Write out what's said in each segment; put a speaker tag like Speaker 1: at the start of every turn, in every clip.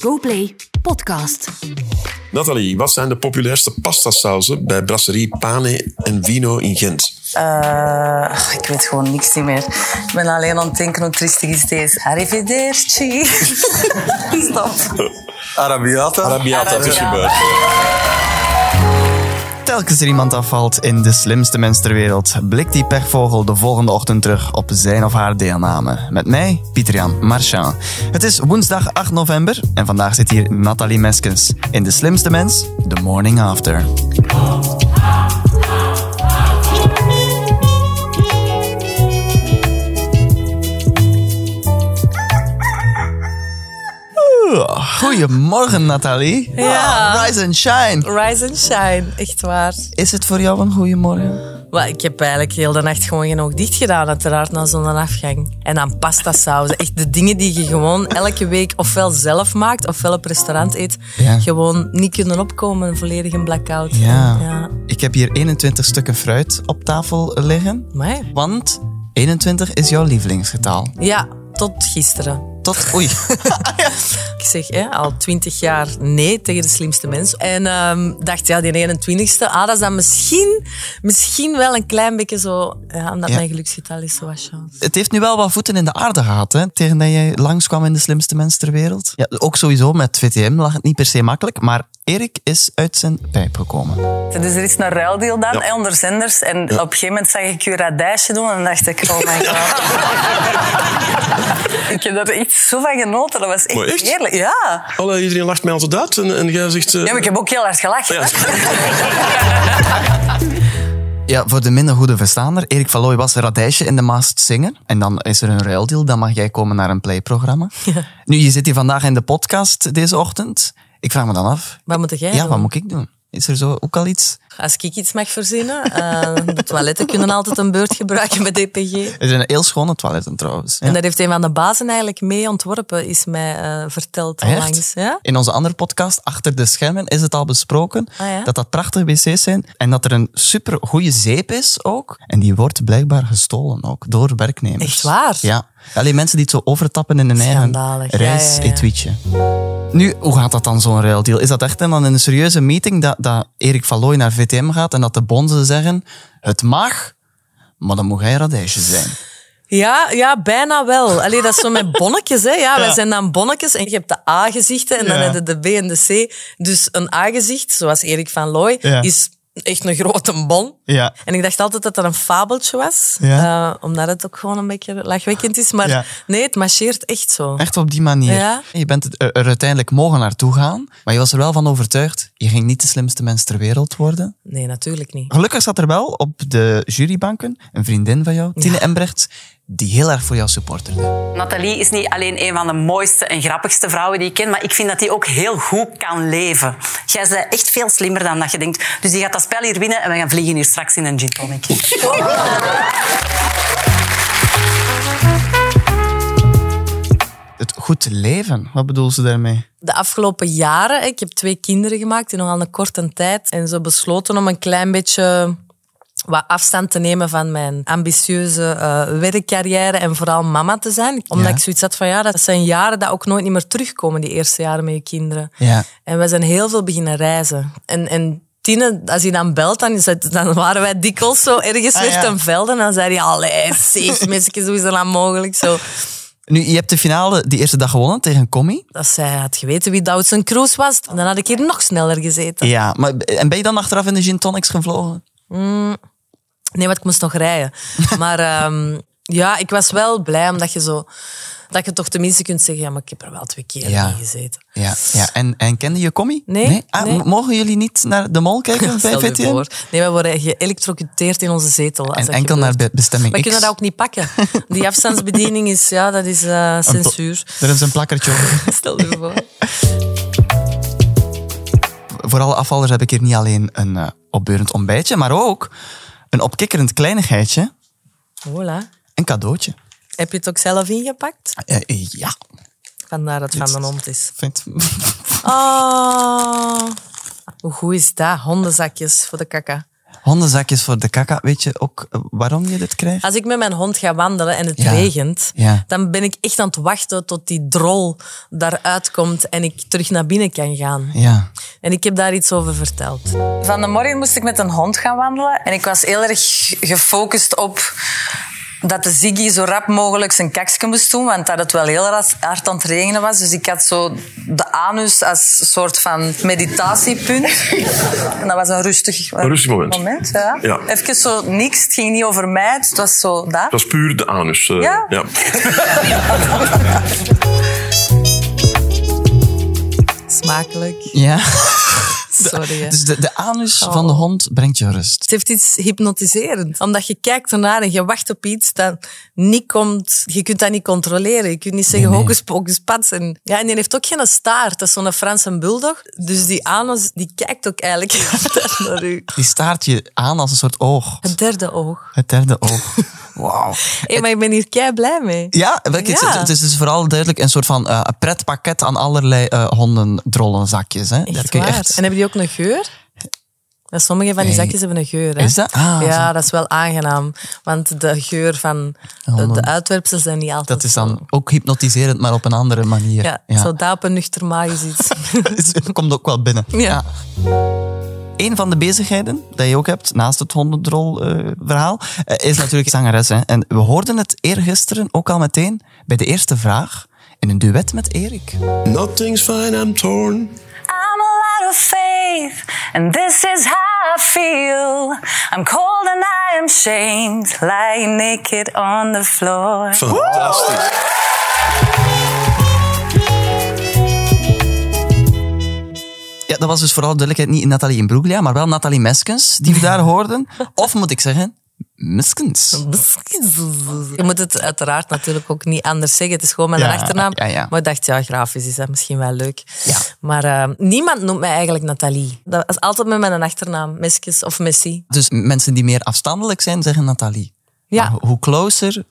Speaker 1: GoPlay Podcast.
Speaker 2: Nathalie, wat zijn de populairste pastasauzen bij brasserie Pane en Vino in Gent?
Speaker 3: Eh, ach, ik weet gewoon niks niet meer. Ik ben alleen aan het denken hoe triestig is deze. Arrivederci. Stop.
Speaker 4: Arabiata.
Speaker 2: Arabiata, het is gebeurd.
Speaker 5: Telkens er iemand afvalt in de slimste mens ter wereld, blikt die pechvogel de volgende ochtend terug op zijn of haar deelname. Met mij, Pietrian Marchand. Het is woensdag 8 november en vandaag zit hier Nathalie Meskens in de slimste mens, The Morning After. Oeh, Goedemorgen Nathalie.
Speaker 3: Ja.
Speaker 5: Wow, rise and shine.
Speaker 3: Rise and shine, echt waar.
Speaker 5: Is het voor jou een goede morgen?
Speaker 3: Maar ik heb eigenlijk heel de nacht gewoon geen oog dicht gedaan, uiteraard, na zo'n afgang. En dan pasta sauzen. Echt de dingen die je gewoon elke week ofwel zelf maakt, ofwel op restaurant eet.
Speaker 5: Ja.
Speaker 3: Gewoon niet kunnen opkomen, volledig een blackout.
Speaker 5: Ja.
Speaker 3: ja.
Speaker 5: Ik heb hier 21 stukken fruit op tafel liggen.
Speaker 3: Maar
Speaker 5: Want 21 is jouw lievelingsgetal.
Speaker 3: ja, tot gisteren.
Speaker 5: Tot. Oei.
Speaker 3: Ik zeg hè, al twintig jaar nee tegen de slimste mens. En ehm, dacht, ja, die 21ste, ah, dat is dan misschien, misschien wel een klein beetje zo. Ja, omdat
Speaker 5: Ja.
Speaker 3: mijn geluksgetal is zo wat chance.
Speaker 5: Het heeft nu wel wat voeten in de aarde gehad, hè? Tegen dat jij langskwam in de slimste mens ter wereld. Ja, ook sowieso met VTM lag het niet per se makkelijk, maar Erik is uit zijn pijp gekomen.
Speaker 3: Dus er is een ruildeal dan onder zenders. En op een gegeven moment zag ik je radijsje doen en dacht ik, oh my god. ik heb daar echt zo van genoten. Dat was echt,
Speaker 2: Maar echt?
Speaker 3: heerlijk. Ja.
Speaker 2: Alle, iedereen lacht mij altijd uit en, en jij zegt... eh,
Speaker 3: ja, maar ik heb ook heel hard gelachen.
Speaker 2: Ja.
Speaker 5: Ja, voor de minder goede verstaander, Erik van Looy was een radijsje in de Maast zingen. En dan is er een ruildeal, dan mag jij komen naar een playprogramma. Nu, je zit hier vandaag in de podcast deze ochtend. Ik vraag me dan af,
Speaker 3: Wat moet jij
Speaker 5: Ja,
Speaker 3: doen?
Speaker 5: wat moet ik doen? Is er zo ook al iets?
Speaker 3: Als ik iets mag verzinnen, eh, de toiletten kunnen altijd een beurt gebruiken bij DPG.
Speaker 5: Er zijn heel schone toiletten trouwens. Ja.
Speaker 3: En dat heeft een van de bazen eigenlijk mee ontworpen, is mij eh, verteld
Speaker 5: Echt?
Speaker 3: onlangs. Ja?
Speaker 5: In onze andere podcast, Achter de Schermen, is het al besproken
Speaker 3: Ah, ja?
Speaker 5: dat dat prachtige wc's zijn. En dat er een super goede zeep is ook. En die wordt blijkbaar gestolen ook door werknemers.
Speaker 3: Echt waar?
Speaker 5: Ja. Alleen mensen die het zo overtappen in hun
Speaker 3: Schandalig. Ja,
Speaker 5: eigen
Speaker 3: ja, ja.
Speaker 5: reisetuitje. Nu, hoe gaat dat dan, zo'n ruildeal? Is dat echt dan in een serieuze meeting dat, dat Erik van Looy naar VTM gaat en dat de bonzen zeggen, het mag, maar dan moet jij radijsje zijn.
Speaker 3: Ja, ja, bijna wel. Allee, dat is zo met bonnetjes. Hè? Ja, Wij zijn dan bonnetjes en je hebt de A-gezichten en dan
Speaker 5: Ja.
Speaker 3: heb je de B en de C. Dus een A-gezicht, zoals Erik van Looy,
Speaker 5: Ja.
Speaker 3: is echt een grote bon.
Speaker 5: Ja.
Speaker 3: En ik dacht altijd dat dat een fabeltje was,
Speaker 5: Ja.
Speaker 3: eh, omdat het ook gewoon een beetje lachwekkend is. Maar
Speaker 5: Ja.
Speaker 3: nee, het marcheert echt zo.
Speaker 5: Echt op die manier.
Speaker 3: Ja.
Speaker 5: Je bent eh, er er uiteindelijk mogen naartoe gaan, maar je was er wel van overtuigd. Je ging niet de slimste mens ter wereld worden.
Speaker 3: Nee, natuurlijk niet.
Speaker 5: Gelukkig zat er wel op de jurybanken een vriendin van jou, Tine Embrechts, die heel erg voor jou supporterde.
Speaker 6: Nathalie is niet alleen een van de mooiste en grappigste vrouwen die ik ken, maar ik vind dat die ook heel goed kan leven. Jij bent echt veel slimmer dan dat je denkt. Dus die gaat dat spel hier winnen en we gaan vliegen hier straks in een gin tonic.
Speaker 5: Het goed leven, wat bedoel ze daarmee?
Speaker 3: de afgelopen jaren, hè, ik heb twee kinderen gemaakt in nogal een korte tijd. En zo besloten om een klein beetje wat afstand te nemen van mijn ambitieuze eh, werkcarrière en vooral mama te zijn. Omdat
Speaker 5: Ja.
Speaker 3: ik zoiets had van, ja, dat zijn jaren dat ook nooit niet meer terugkomen, die eerste jaren met je kinderen.
Speaker 5: Ja.
Speaker 3: En we zijn heel veel beginnen reizen. En, en Tine, als hij dan belt, dan, is het, dan waren wij dikwijls zo ergens
Speaker 5: Ah,
Speaker 3: weer
Speaker 5: ja.
Speaker 3: ten velde. En dan zei hij, allee, zeg, mensen, hoe is dat nou mogelijk? Zo.
Speaker 5: Nu, je hebt de finale die eerste dag gewonnen tegen Commie.
Speaker 3: Als zij had geweten wie Doutzen Kroes was, dan had ik hier nog sneller gezeten.
Speaker 5: Ja, maar en ben je dan achteraf in de gin tonics gevlogen?
Speaker 3: Nee, want ik moest nog rijden. Maar ehm, ja, ik was wel blij omdat je zo... Dat je toch tenminste kunt zeggen, ja, maar ik heb er wel twee keer
Speaker 5: Ja.
Speaker 3: in gezeten.
Speaker 5: Ja. ja. En, en kende je Commie?
Speaker 3: Nee,
Speaker 5: Ah,
Speaker 3: nee.
Speaker 5: m- Mogen jullie niet naar de mol kijken bij
Speaker 3: Stel je
Speaker 5: VTM?
Speaker 3: voor. Nee, we worden geëlectrocuteerd in onze zetel. als
Speaker 5: En
Speaker 3: dat
Speaker 5: enkel naar
Speaker 3: gebeurt.
Speaker 5: be- bestemming
Speaker 3: Maar we
Speaker 5: X.
Speaker 3: kunnen dat ook niet pakken. Die afstandsbediening is, ja, dat is eh, censuur.
Speaker 5: Er is een plakkertje over.
Speaker 3: Stel je voor.
Speaker 5: voor alle afvallers heb ik hier niet alleen een eh, opbeurend ontbijtje, maar ook een opkikkerend kleinigheidje,
Speaker 3: Voilà.
Speaker 5: een cadeautje.
Speaker 3: Heb je het ook zelf ingepakt?
Speaker 5: Eh, eh, ja,
Speaker 3: Vandaar dat het van de hond is.
Speaker 5: vind
Speaker 3: Oh, hoe goed is dat? Hondenzakjes voor de kaka.
Speaker 5: Hondenzakjes voor de kaka. Weet je ook eh, waarom je dit krijgt?
Speaker 3: Als ik met mijn hond ga wandelen en het
Speaker 5: Ja.
Speaker 3: regent,
Speaker 5: Ja.
Speaker 3: dan ben ik echt aan het wachten tot die drol daaruit komt en ik terug naar binnen kan gaan.
Speaker 5: Ja.
Speaker 3: En ik heb daar iets over verteld. Van de morgen moest ik met een hond gaan wandelen. En ik was heel erg gefocust op dat de Ziggy zo rap mogelijk zijn kaksje moest doen. Want dat het wel heel ras- hard aan het regenen was. Dus ik had zo de anus als soort van meditatiepunt. En dat was een rustig,
Speaker 2: Een rustig moment.
Speaker 3: ja.
Speaker 2: Ja.
Speaker 3: Even zo niks. Het ging niet over mij. Het was zo dat.
Speaker 2: Dat is puur de anus. eh,
Speaker 3: Ja.
Speaker 2: ja.
Speaker 3: Smakelijk.
Speaker 5: ja.
Speaker 3: Sorry. hè.
Speaker 5: Dus de, de anus
Speaker 3: Oh.
Speaker 5: van de hond brengt je rust.
Speaker 3: Het heeft iets hypnotiserends. Omdat je kijkt ernaar en je wacht op iets dat niet komt. Je kunt dat niet controleren. Je kunt niet zeggen
Speaker 5: nee.
Speaker 3: hocus pocus pats. En, ja, en die heeft ook geen staart. Dat is zo'n Franse bulldog. Dus die anus, die kijkt ook eigenlijk altijd naar u.
Speaker 5: Die staart je aan als een soort oog.
Speaker 3: Het derde oog.
Speaker 5: Het derde oog. Wauw.
Speaker 3: Hé, maar ik ben hier kei blij mee.
Speaker 5: Ja, wel, het,
Speaker 3: Ja.
Speaker 5: het is dus vooral duidelijk een soort van eh, een pretpakket aan allerlei eh hondendrollenzakjes. Hè?
Speaker 3: Echt
Speaker 5: kun je
Speaker 3: waar. En hebben die ook een geur? Ja, sommige van die
Speaker 5: Nee.
Speaker 3: zakjes hebben een geur. Hè?
Speaker 5: Is dat? Ah,
Speaker 3: ja, dat is wel aangenaam. Want de geur van de, de uitwerpsels zijn niet altijd
Speaker 5: Oh, Dat is
Speaker 3: zo-
Speaker 5: dan ook hypnotiserend, maar op een andere manier. Dus
Speaker 3: Ja, zo daar op een nuchter magisch iets.
Speaker 5: Het komt ook wel binnen.
Speaker 3: Ja.
Speaker 5: Een van de bezigheden die je ook hebt, naast het hondendrol-verhaal, eh, is natuurlijk zangeres. Hè? En we hoorden het eergisteren ook al meteen bij de eerste vraag in een duet met Erik.
Speaker 2: Nothing's fine, I'm torn.
Speaker 6: I'm a lot of faith, and this is how I feel. I'm cold and I am shamed, lying naked on the floor.
Speaker 2: Fantastisch.
Speaker 5: Ja, dat was dus vooral duidelijkheid niet Nathalie Imbruglia, maar wel Nathalie Meskens, die we daar hoorden. Of moet ik zeggen, Meskens.
Speaker 3: Je moet het uiteraard natuurlijk ook niet anders zeggen. Het is gewoon mijn
Speaker 5: Ja,
Speaker 3: achternaam.
Speaker 5: ja, ja.
Speaker 3: Maar ik dacht, ja, grafisch is dat misschien wel leuk. Maar eh, niemand noemt mij eigenlijk Nathalie. Dat is altijd met mijn achternaam. Meskes of Messi.
Speaker 5: Dus mensen die meer afstandelijk zijn, zeggen Nathalie.
Speaker 3: Ja.
Speaker 5: Maar hoe closer,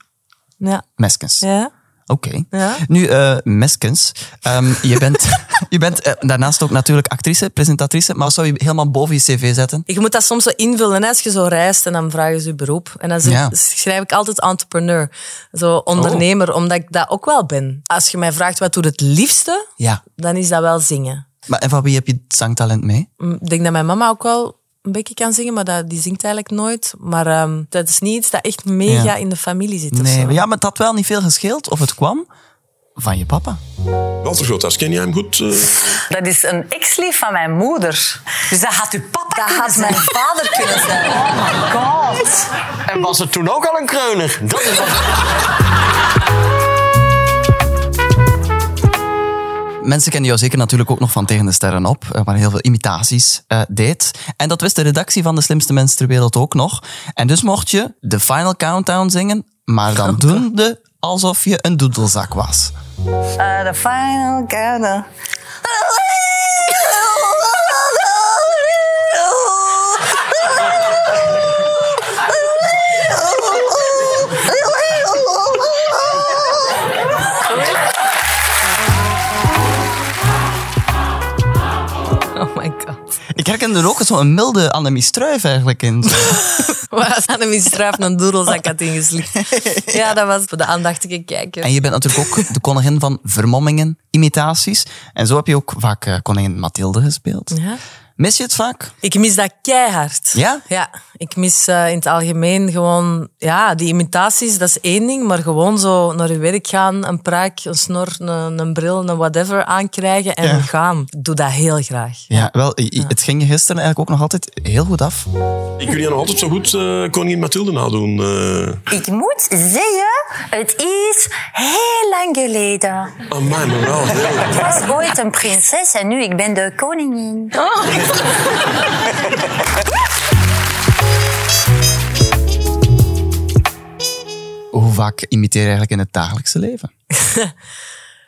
Speaker 3: Ja.
Speaker 5: Meskens.
Speaker 3: ja.
Speaker 5: Oké.
Speaker 3: Ja.
Speaker 5: Nu, eh, Meskens, ehm, je bent, je bent eh, daarnaast ook natuurlijk actrice, presentatrice, maar zou je helemaal boven je cv zetten?
Speaker 3: Je moet dat soms zo invullen. Hè? Als je zo reist en dan vragen ze je beroep. En dan zeg-
Speaker 5: Ja.
Speaker 3: schrijf ik altijd entrepreneur. Zo ondernemer,
Speaker 5: Oh.
Speaker 3: omdat ik dat ook wel ben. Als je mij vraagt wat doet het liefste,
Speaker 5: Ja.
Speaker 3: dan is dat wel zingen.
Speaker 5: Maar en van wie heb je het zangtalent mee?
Speaker 3: Mm, Ik denk dat mijn mama ook wel een beetje kan zingen, maar dat, die zingt eigenlijk nooit. Maar ehm, dat is niet iets dat echt mega
Speaker 5: Ja.
Speaker 3: in de familie zit. of
Speaker 5: Nee,
Speaker 3: zo.
Speaker 5: maar ja, maar het had wel niet veel gescheeld of het kwam van je papa.
Speaker 2: Walter Groothuis, ken jij hem goed? eh?
Speaker 6: Dat is een ex-lief van mijn moeder. Dus dat had uw papa
Speaker 3: Dat
Speaker 6: kunnen
Speaker 3: had
Speaker 6: zijn.
Speaker 3: mijn vader kunnen zijn.
Speaker 6: Oh my god.
Speaker 4: En was het toen ook al een kreuner? Dat is wat...
Speaker 5: Mensen kennen jou zeker natuurlijk ook nog van Tegen de Sterren op, eh, waar je heel veel imitaties eh, deed. En dat wist de redactie van De Slimste Mens ter Wereld ook nog. En dus mocht je de Final Countdown zingen, maar dan doende alsof je een doedelzak was.
Speaker 6: Uh, the final countdown.
Speaker 3: Oh my god.
Speaker 5: Ik herken er ook zo'n milde Annemie Struijf eigenlijk in.
Speaker 3: Waar was aan de struif een doedelzak had ingeslikt. Ja, dat was voor de aandachtige kijker.
Speaker 5: En je bent natuurlijk ook de koningin van vermommingen, imitaties. En zo heb je ook vaak eh, koningin Mathilde gespeeld.
Speaker 3: Ja.
Speaker 5: Mis je het vaak?
Speaker 3: Ik mis dat keihard.
Speaker 5: Ja?
Speaker 3: Ja. Ik mis eh, in het algemeen gewoon... Ja, die imitaties, dat is één ding. Maar gewoon zo naar je werk gaan, een pruik, een snor, een, een bril, een whatever aankrijgen en
Speaker 5: Ja.
Speaker 3: gaan. Ik doe dat heel graag.
Speaker 5: Ja, wel, i- i- het ging je gisteren eigenlijk ook nog altijd heel goed af.
Speaker 2: Ik kun je nog altijd zo goed eh, koningin Mathilde nadoen. eh.
Speaker 6: Ik moet zeggen, het is heel lang geleden.
Speaker 2: Amai, maar wel. heel.
Speaker 6: Ik was ooit een prinses en nu ik ben de koningin.
Speaker 5: Hoe vaak imiteer je eigenlijk in het dagelijkse leven?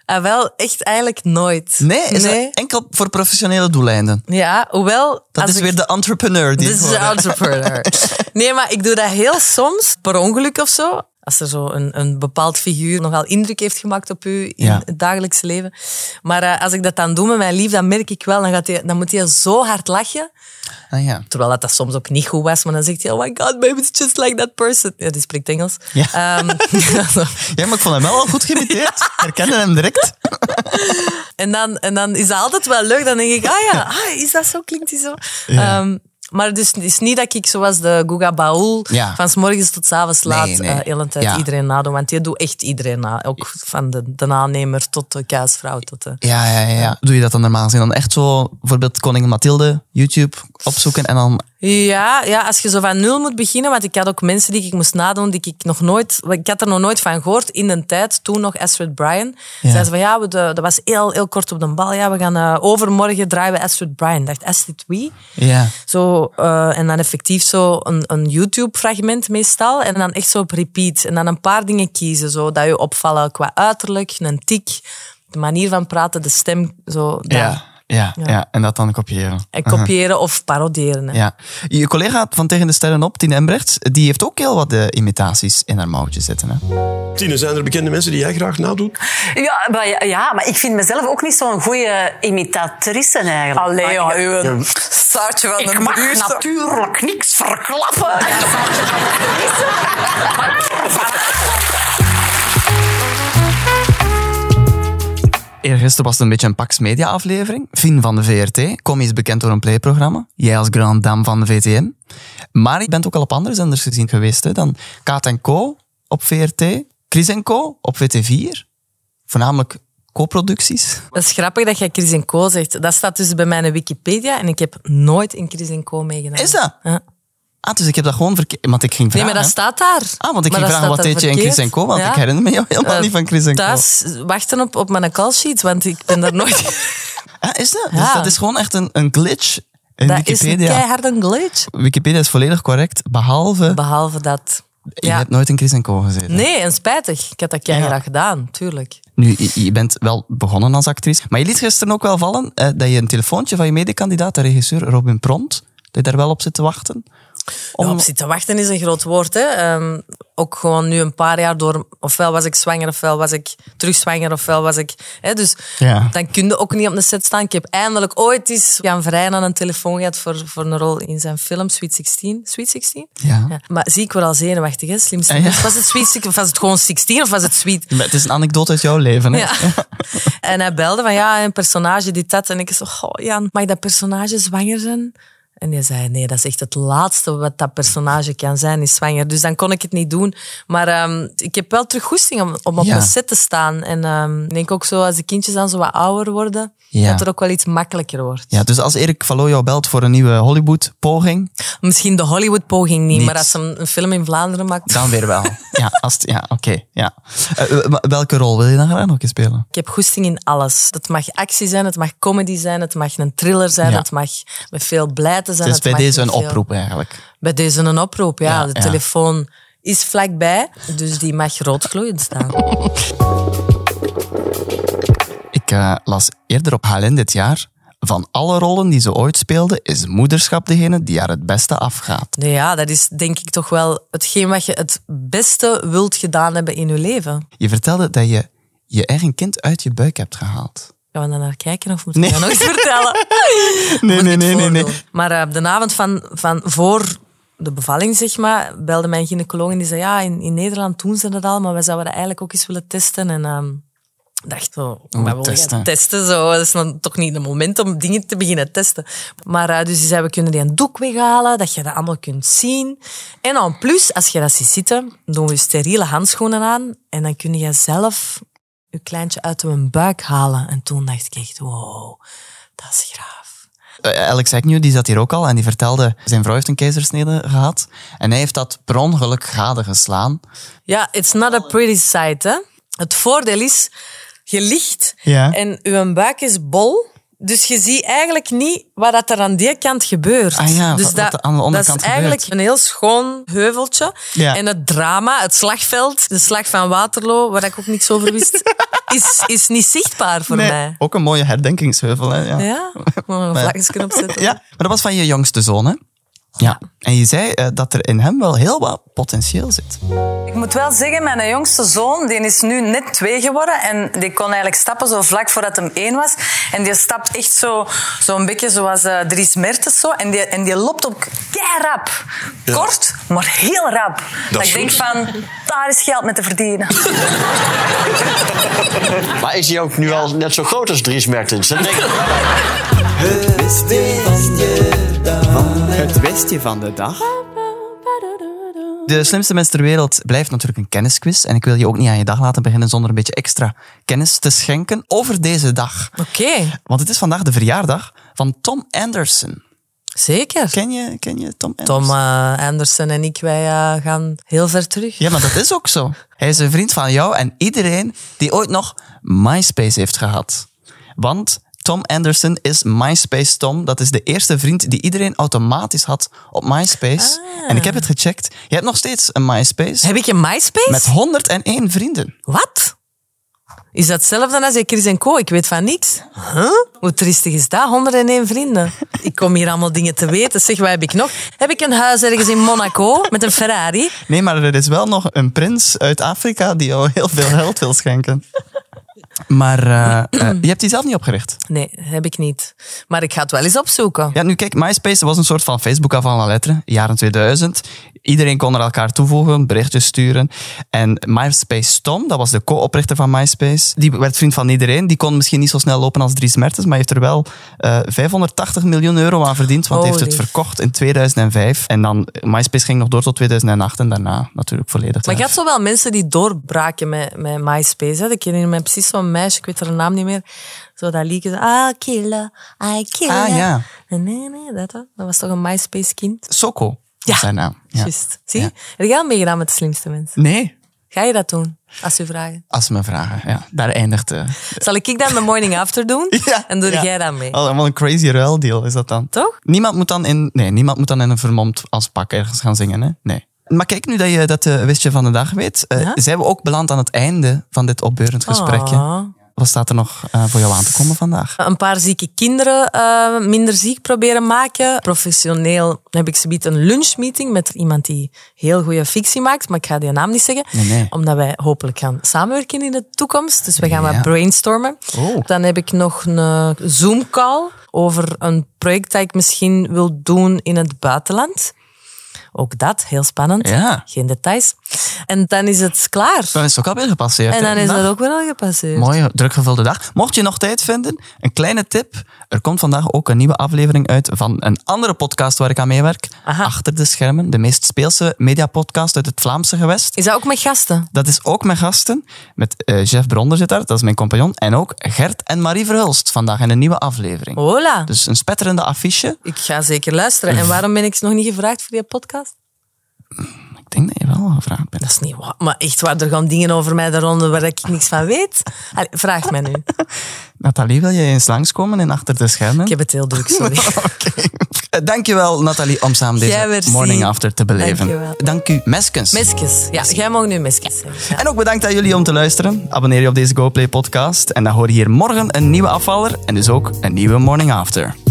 Speaker 3: Ah, wel, echt eigenlijk nooit.
Speaker 5: Nee, is dat enkel voor professionele doeleinden.
Speaker 3: Ja, hoewel...
Speaker 5: Dat
Speaker 3: als
Speaker 5: is
Speaker 3: ik-
Speaker 5: weer de entrepreneur die
Speaker 3: Dit
Speaker 5: ik
Speaker 3: is
Speaker 5: hoorde.
Speaker 3: de entrepreneur. Nee, maar ik doe dat heel soms, per ongeluk of zo. Als er zo een, een bepaald figuur nogal indruk heeft gemaakt op u in
Speaker 5: Ja.
Speaker 3: het dagelijks leven. Maar eh, als ik dat dan doe met mijn lief, dan merk ik wel, dan, gaat hij, dan moet hij zo hard lachen.
Speaker 5: Ah ja.
Speaker 3: Terwijl dat, dat soms ook niet goed was, maar dan zegt hij, oh my god, baby, it's just like that person. Ja, die spreekt Engels.
Speaker 5: Ja.
Speaker 3: Ehm,
Speaker 5: ja, maar ik vond hem wel al goed geïmiteerd. Herkende hem direct.
Speaker 3: En dan, en dan is dat altijd wel leuk. Dan denk ik, ah ja, ah, is dat zo? Klinkt die zo?
Speaker 5: Ja.
Speaker 3: Ehm, maar dus, het is niet dat ik zoals de Guga Baul
Speaker 5: Ja.
Speaker 3: van s morgens tot s avonds
Speaker 5: Nee,
Speaker 3: laat
Speaker 5: nee.
Speaker 3: eh, heel de tijd
Speaker 5: Ja.
Speaker 3: iedereen nadoen. Want je doet echt iedereen na. Ook van de, de aannemer tot de kaasvrouw. Tot de...
Speaker 5: Ja, ja, ja, ja. Doe je dat dan normaal gezien? Dan echt zo, bijvoorbeeld Koningin Mathilde, YouTube opzoeken en dan...
Speaker 3: Ja, ja, als je zo van nul moet beginnen. Want ik had ook mensen die ik moest nadoen, die ik nog nooit... Ik had er nog nooit van gehoord in de tijd, toen nog Astrid Bryan.
Speaker 5: Ja.
Speaker 3: Zei ze van, ja, we, de- dat was heel, heel kort op de bal. Ja, we gaan eh, overmorgen draaien we Astrid Bryan. Ik dacht, Astrid wie?
Speaker 5: Ja.
Speaker 3: Zo, eh, en dan effectief zo een, een YouTube-fragment meestal. En dan echt zo op repeat. En dan een paar dingen kiezen, zo, dat je opvallen qua uiterlijk, een tik, de manier van praten, de stem. Zo, dat.
Speaker 5: Ja, ja, ja.
Speaker 3: Ja.
Speaker 5: En dat dan kopiëren. Mhm,
Speaker 3: En kopiëren of paroderen. hè.
Speaker 5: Ja. Je collega van Tegen de Sterren op, Tine Embrechts, die heeft ook heel wat eh, imitaties in haar mouwtje zitten. Hè?
Speaker 2: Tine, zijn er bekende mensen die jij graag nadoet?
Speaker 6: Ja maar, ja, ja, maar ik vind mezelf ook niet zo'n goede imitatrice eigenlijk.
Speaker 3: Allee, ja,
Speaker 6: Maar ik-
Speaker 3: uw staartje van
Speaker 6: Ik
Speaker 3: een
Speaker 6: mag
Speaker 3: bruut.
Speaker 6: natuurlijk niks verklappen. Ja, dat zou je niet weten. Maar ik vind van-
Speaker 5: Eergisteren was het een beetje een Pax Media aflevering. Fien van de VRT, kom eens bekend door een playprogramma. Jij als grand dame van de VTM. Maar je bent ook al op andere zenders gezien geweest. Hè? Dan Kaat en Co op VRT, Chris en Co op VT4. Voornamelijk co-producties.
Speaker 3: Dat is grappig dat jij Chris en Co zegt. Dat staat dus bij mijn Wikipedia en ik heb nooit in Chris en Co meegenomen.
Speaker 5: Is dat?
Speaker 3: Ja.
Speaker 5: Ah, dus ik heb dat gewoon verkeerd... Want ik ging
Speaker 3: Nee,
Speaker 5: vragen...
Speaker 3: maar dat
Speaker 5: hè.
Speaker 3: staat daar.
Speaker 5: Ah, want
Speaker 3: Maar dat
Speaker 5: ik ging vragen,
Speaker 3: staat
Speaker 5: wat
Speaker 3: daar
Speaker 5: deed je in
Speaker 3: verkeerd.
Speaker 5: Chris en Co? Want
Speaker 3: Ja.
Speaker 5: ik herinner me jou helemaal
Speaker 3: Eh,
Speaker 5: niet van Chris en Co.
Speaker 3: Thuis wachten op, op mijn callsheet, want ik ben daar nooit...
Speaker 5: Ah, is dat? Dus
Speaker 3: Ja.
Speaker 5: dat is gewoon echt een, een glitch in
Speaker 3: dat is een
Speaker 5: Wikipedia.
Speaker 3: keihard een glitch.
Speaker 5: Wikipedia is volledig correct, behalve...
Speaker 3: Behalve dat...
Speaker 5: Je
Speaker 3: Ja.
Speaker 5: hebt nooit in Chris en Co gezeten.
Speaker 3: Nee, en spijtig. Ik had dat keihard gedaan, tuurlijk.
Speaker 5: Nu, je, je bent wel begonnen als actrice, maar je liet gisteren ook wel vallen eh, dat je een telefoontje van je medekandidaat, de regisseur Robin Pront, dat je daar wel op zit te wachten. Om-
Speaker 3: Ja, op zitten wachten is een groot woord. Hè. Ehm, ook gewoon nu een paar jaar door... Ofwel was ik zwanger, ofwel was ik terugzwanger, ofwel was ik... Hè, dus
Speaker 5: Ja.
Speaker 3: dan kun je ook niet op de set staan. Ik heb eindelijk ooit eens Jan Vrijen aan een telefoon gehad voor, voor een rol in zijn film Sweet 16. Sweet 16?
Speaker 5: Ja.
Speaker 3: Maar zie ik wel al zenuwachtig, hè? Slimste.
Speaker 5: Ah, ja.
Speaker 3: mens. Was het Sweet 16 of was het gewoon 16 of was het Sweet...
Speaker 5: Maar Het is een anekdote uit jouw leven. Hè?
Speaker 3: Ja. en hij belde van ja, een personage die dat. En ik zo, goh Jan, mag dat personage zwanger zijn? En hij zei, nee, dat is echt het laatste wat dat personage kan zijn, is zwanger. Dus dan kon ik het niet doen. Maar ehm, ik heb wel terug goesting om, om op
Speaker 5: Ja.
Speaker 3: een set te staan. En ehm, ik denk ook zo, als de kindjes dan zo wat ouder worden,
Speaker 5: Ja.
Speaker 3: dat er ook wel iets makkelijker wordt.
Speaker 5: Ja, dus als Erik Valo jou belt voor een nieuwe Hollywood-poging,
Speaker 3: Misschien de Hollywood-poging niet,
Speaker 5: Niet.
Speaker 3: maar als ze een, een film in Vlaanderen maakt...
Speaker 5: dan weer wel. ja, als het- ja oké. ja. Eh, eh, maar welke rol wil je dan graag nog eens spelen?
Speaker 3: Ik heb goesting in alles. Het mag actie zijn, het mag comedy zijn, het mag een thriller zijn,
Speaker 5: Ja.
Speaker 3: het mag met veel blijte zijn.
Speaker 5: Het is bij
Speaker 3: mag
Speaker 5: deze een
Speaker 3: met veel-
Speaker 5: oproep eigenlijk.
Speaker 3: Bij deze een oproep, ja.
Speaker 5: Ja,
Speaker 3: de
Speaker 5: ja.
Speaker 3: telefoon is vlakbij, dus die mag roodgloeiend staan.
Speaker 5: Ik eh, las eerder op HLN dit jaar, van alle rollen die ze ooit speelden, is moederschap degene die haar het beste afgaat.
Speaker 3: Nee, ja, dat is denk ik toch wel hetgeen wat je het beste wilt gedaan hebben in je leven.
Speaker 5: Je vertelde dat je je eigen kind uit je buik hebt gehaald.
Speaker 3: Gaan we daar naar kijken of moet
Speaker 5: Nee.
Speaker 3: ik dat nog eens vertellen?
Speaker 5: Nee, nee, nee, nee,
Speaker 3: voordoen. Maar eh, de avond van, van voor de bevalling, zeg maar, belde mijn gynaecoloog en die zei, ja, in, in Nederland doen ze dat al, maar wij zouden dat eigenlijk ook eens willen testen. En ehm, ik dacht, oh, wat wil je
Speaker 5: testen.
Speaker 3: testen? Zo, dat is dan toch niet het moment om dingen te beginnen testen. Maar eh, dus die zei, we kunnen die een doek weghalen, dat je dat allemaal kunt zien. En dan plus, als je dat ziet zitten, doen we je steriele handschoenen aan en dan kun je zelf je kleintje uit hun buik halen. En toen dacht ik echt, wow, dat is graaf.
Speaker 5: Eh, Alex Agnew die zat hier ook al en die vertelde... Zijn vrouw heeft een keizersnede gehad. En hij heeft dat per ongeluk gade geslaan.
Speaker 3: Ja, it's not a pretty sight, hè. Het voordeel is, je ligt
Speaker 5: Ja.
Speaker 3: en uw buik is bol. Dus je ziet eigenlijk niet wat dat er aan die kant gebeurt.
Speaker 5: Ah ja,
Speaker 3: dus
Speaker 5: wat- wat er aan de
Speaker 3: dat is
Speaker 5: onderkant
Speaker 3: eigenlijk
Speaker 5: gebeurt.
Speaker 3: een heel schoon heuveltje.
Speaker 5: Ja.
Speaker 3: En het drama, het slagveld, de slag van Waterloo, waar ik ook niks over wist, is, is niet zichtbaar voor mij.
Speaker 5: Ook een mooie herdenkingsheuvel. Hè? Ja.
Speaker 3: Ja, gewoon een vlaggetje opzetten.
Speaker 5: Ja, maar dat was van je jongste zoon, hè? Ja. En je zei eh, dat er in hem wel heel wat potentieel zit.
Speaker 3: Ik moet wel zeggen, mijn jongste zoon die is nu net twee geworden. En die kon eigenlijk stappen zo vlak voordat hem één was. En die stapt echt zo, zo een beetje zoals eh Dries Mertens. Zo. En, die, en die loopt ook keirap.
Speaker 2: Ja.
Speaker 3: Kort, maar heel rap. Dat,
Speaker 2: is
Speaker 3: ik denk
Speaker 2: goed.
Speaker 3: van, daar is geld mee te verdienen.
Speaker 4: Maar is hij ook nu al net zo groot als Dries Mertens? Dat denk ik.
Speaker 7: Het westje van de dag.
Speaker 5: De slimste mens ter wereld blijft natuurlijk een kennisquiz. En ik wil je ook niet aan je dag laten beginnen zonder een beetje extra kennis te schenken over deze dag.
Speaker 3: Oké,
Speaker 5: Want het is vandaag de verjaardag van Tom Anderson.
Speaker 3: zeker.
Speaker 5: Ken je, ken je Tom Anderson?
Speaker 3: Tom eh, Anderson en ik, wij eh, gaan heel ver terug.
Speaker 5: Ja, maar dat is ook zo. Hij is een vriend van jou en iedereen die ooit nog MySpace heeft gehad. Want Tom Anderson is MySpace Tom. Dat is de eerste vriend die iedereen automatisch had op MySpace. En ik heb het gecheckt. Je hebt nog steeds een MySpace
Speaker 3: Heb ik een MySpace?
Speaker 5: met 101 vrienden.
Speaker 3: Wat? Is dat hetzelfde als Chris en Co? Ik weet van niks. Huh? Hoe triestig is dat? 101 vrienden. Ik kom hier allemaal dingen te weten. Zeg, wat heb ik nog? Heb ik een huis ergens in Monaco met een Ferrari?
Speaker 5: Nee, maar er is wel nog een prins uit Afrika die jou heel veel geld wil schenken. Maar eh, eh, je hebt die zelf niet opgericht.
Speaker 3: Nee, heb ik niet. Maar ik ga het wel eens opzoeken.
Speaker 5: Ja, nu kijk, MySpace was een soort van Facebook af van la lettre, jaren 2000. Iedereen kon er elkaar toevoegen, berichtjes sturen. En MySpace Tom, dat was de co-oprichter van MySpace, die werd vriend van iedereen. Die kon misschien niet zo snel lopen als Dries Mertens, maar hij heeft er wel eh, 580 miljoen euro aan verdiend, want hij heeft het
Speaker 3: Holy.
Speaker 5: verkocht in 2005. En dan, eh, MySpace ging nog door tot 2008 en daarna natuurlijk volledig.
Speaker 3: Maar je
Speaker 5: weg.
Speaker 3: had zo wel mensen die doorbraken met, met MySpace. Hè? Ik herinner me precies zo'n meisje, ik weet haar naam niet meer. Zo dat liedje, zo, I kill her, I kill her.
Speaker 5: Ah, ja.
Speaker 3: Nee, nee, dat, dat was toch een MySpace-kind?
Speaker 5: Soko
Speaker 3: Ja.
Speaker 5: is zijn naam. Ja.
Speaker 3: Juist. Zie? Heb jij al meegedaan met de slimste mensen?
Speaker 5: Nee,
Speaker 3: Ga je dat doen? Als u vragen.
Speaker 5: als ze me vragen. Ja, daar eindigt... eh,
Speaker 3: Zal ik dan de morning after doen?
Speaker 5: Ja,
Speaker 3: en doe
Speaker 5: ja.
Speaker 3: jij dat mee?
Speaker 5: Oh, wat een crazy ruildeal is dat dan.
Speaker 3: Toch?
Speaker 5: Niemand moet dan in, nee, niemand moet dan in een vermomd als pak ergens gaan zingen. Hè? Nee. Maar kijk, nu dat je dat eh, wistje van de dag weet, eh,
Speaker 3: Ja?
Speaker 5: zijn we ook beland aan het einde van dit opbeurend gesprekje.
Speaker 3: Ah.
Speaker 5: Wat staat er nog eh, voor jou aan te komen vandaag?
Speaker 3: Een paar zieke kinderen eh, minder ziek proberen maken. Professioneel heb ik zometeen een lunchmeeting met iemand die heel goede fictie maakt, maar ik ga die naam niet zeggen.
Speaker 5: Nee, nee.
Speaker 3: Omdat wij hopelijk gaan samenwerken in de toekomst. Dus we gaan
Speaker 5: Ja.
Speaker 3: wat brainstormen.
Speaker 5: Oh.
Speaker 3: Dan heb ik nog een eh, Zoom-call over een project dat ik misschien wil doen in het buitenland. Ook dat, heel spannend.
Speaker 5: Ja.
Speaker 3: Geen details. En dan is het klaar.
Speaker 5: Dan is het ook alweer gepasseerd.
Speaker 3: En
Speaker 5: hè,
Speaker 3: dan is
Speaker 5: vandaag.
Speaker 3: dat ook wel al gepasseerd.
Speaker 5: Mooie, drukgevulde dag. Mocht je nog tijd vinden, een kleine tip. Er komt vandaag ook een nieuwe aflevering uit van een andere podcast waar ik aan meewerk.
Speaker 3: Aha.
Speaker 5: Achter de schermen, de meest speelse mediapodcast uit het Vlaamse gewest.
Speaker 3: Is dat ook met gasten?
Speaker 5: Dat is ook met gasten. Met eh Jeff Bronder zit daar, dat is mijn compagnon. En ook Gert en Marie Verhulst vandaag in een nieuwe aflevering.
Speaker 3: Hola.
Speaker 5: Dus een spetterende affiche.
Speaker 3: Ik ga zeker luisteren. En waarom ben ik nog niet gevraagd voor die podcast?
Speaker 5: Ik denk dat je wel gevraagd bent.
Speaker 3: Dat is niet waar. Maar echt waar, er gaan dingen over mij de ronde waar ik niks van weet. Allee, vraag mij nu.
Speaker 5: Nathalie, wil je eens langskomen en achter de schermen?
Speaker 3: Ik heb het heel druk, sorry.
Speaker 5: Eh, Dankjewel, Nathalie, om samen deze
Speaker 3: Jij merci.
Speaker 5: morning after te beleven.
Speaker 3: Dankjewel.
Speaker 5: Dank u, Meskens.
Speaker 3: Meskes. Ja, jij mag nu meskes zeggen. Ja.
Speaker 5: En ook bedankt aan jullie om te luisteren. Abonneer je op deze GoPlay podcast. En dan hoor je hier morgen een nieuwe afvaller. En dus ook een nieuwe morning after.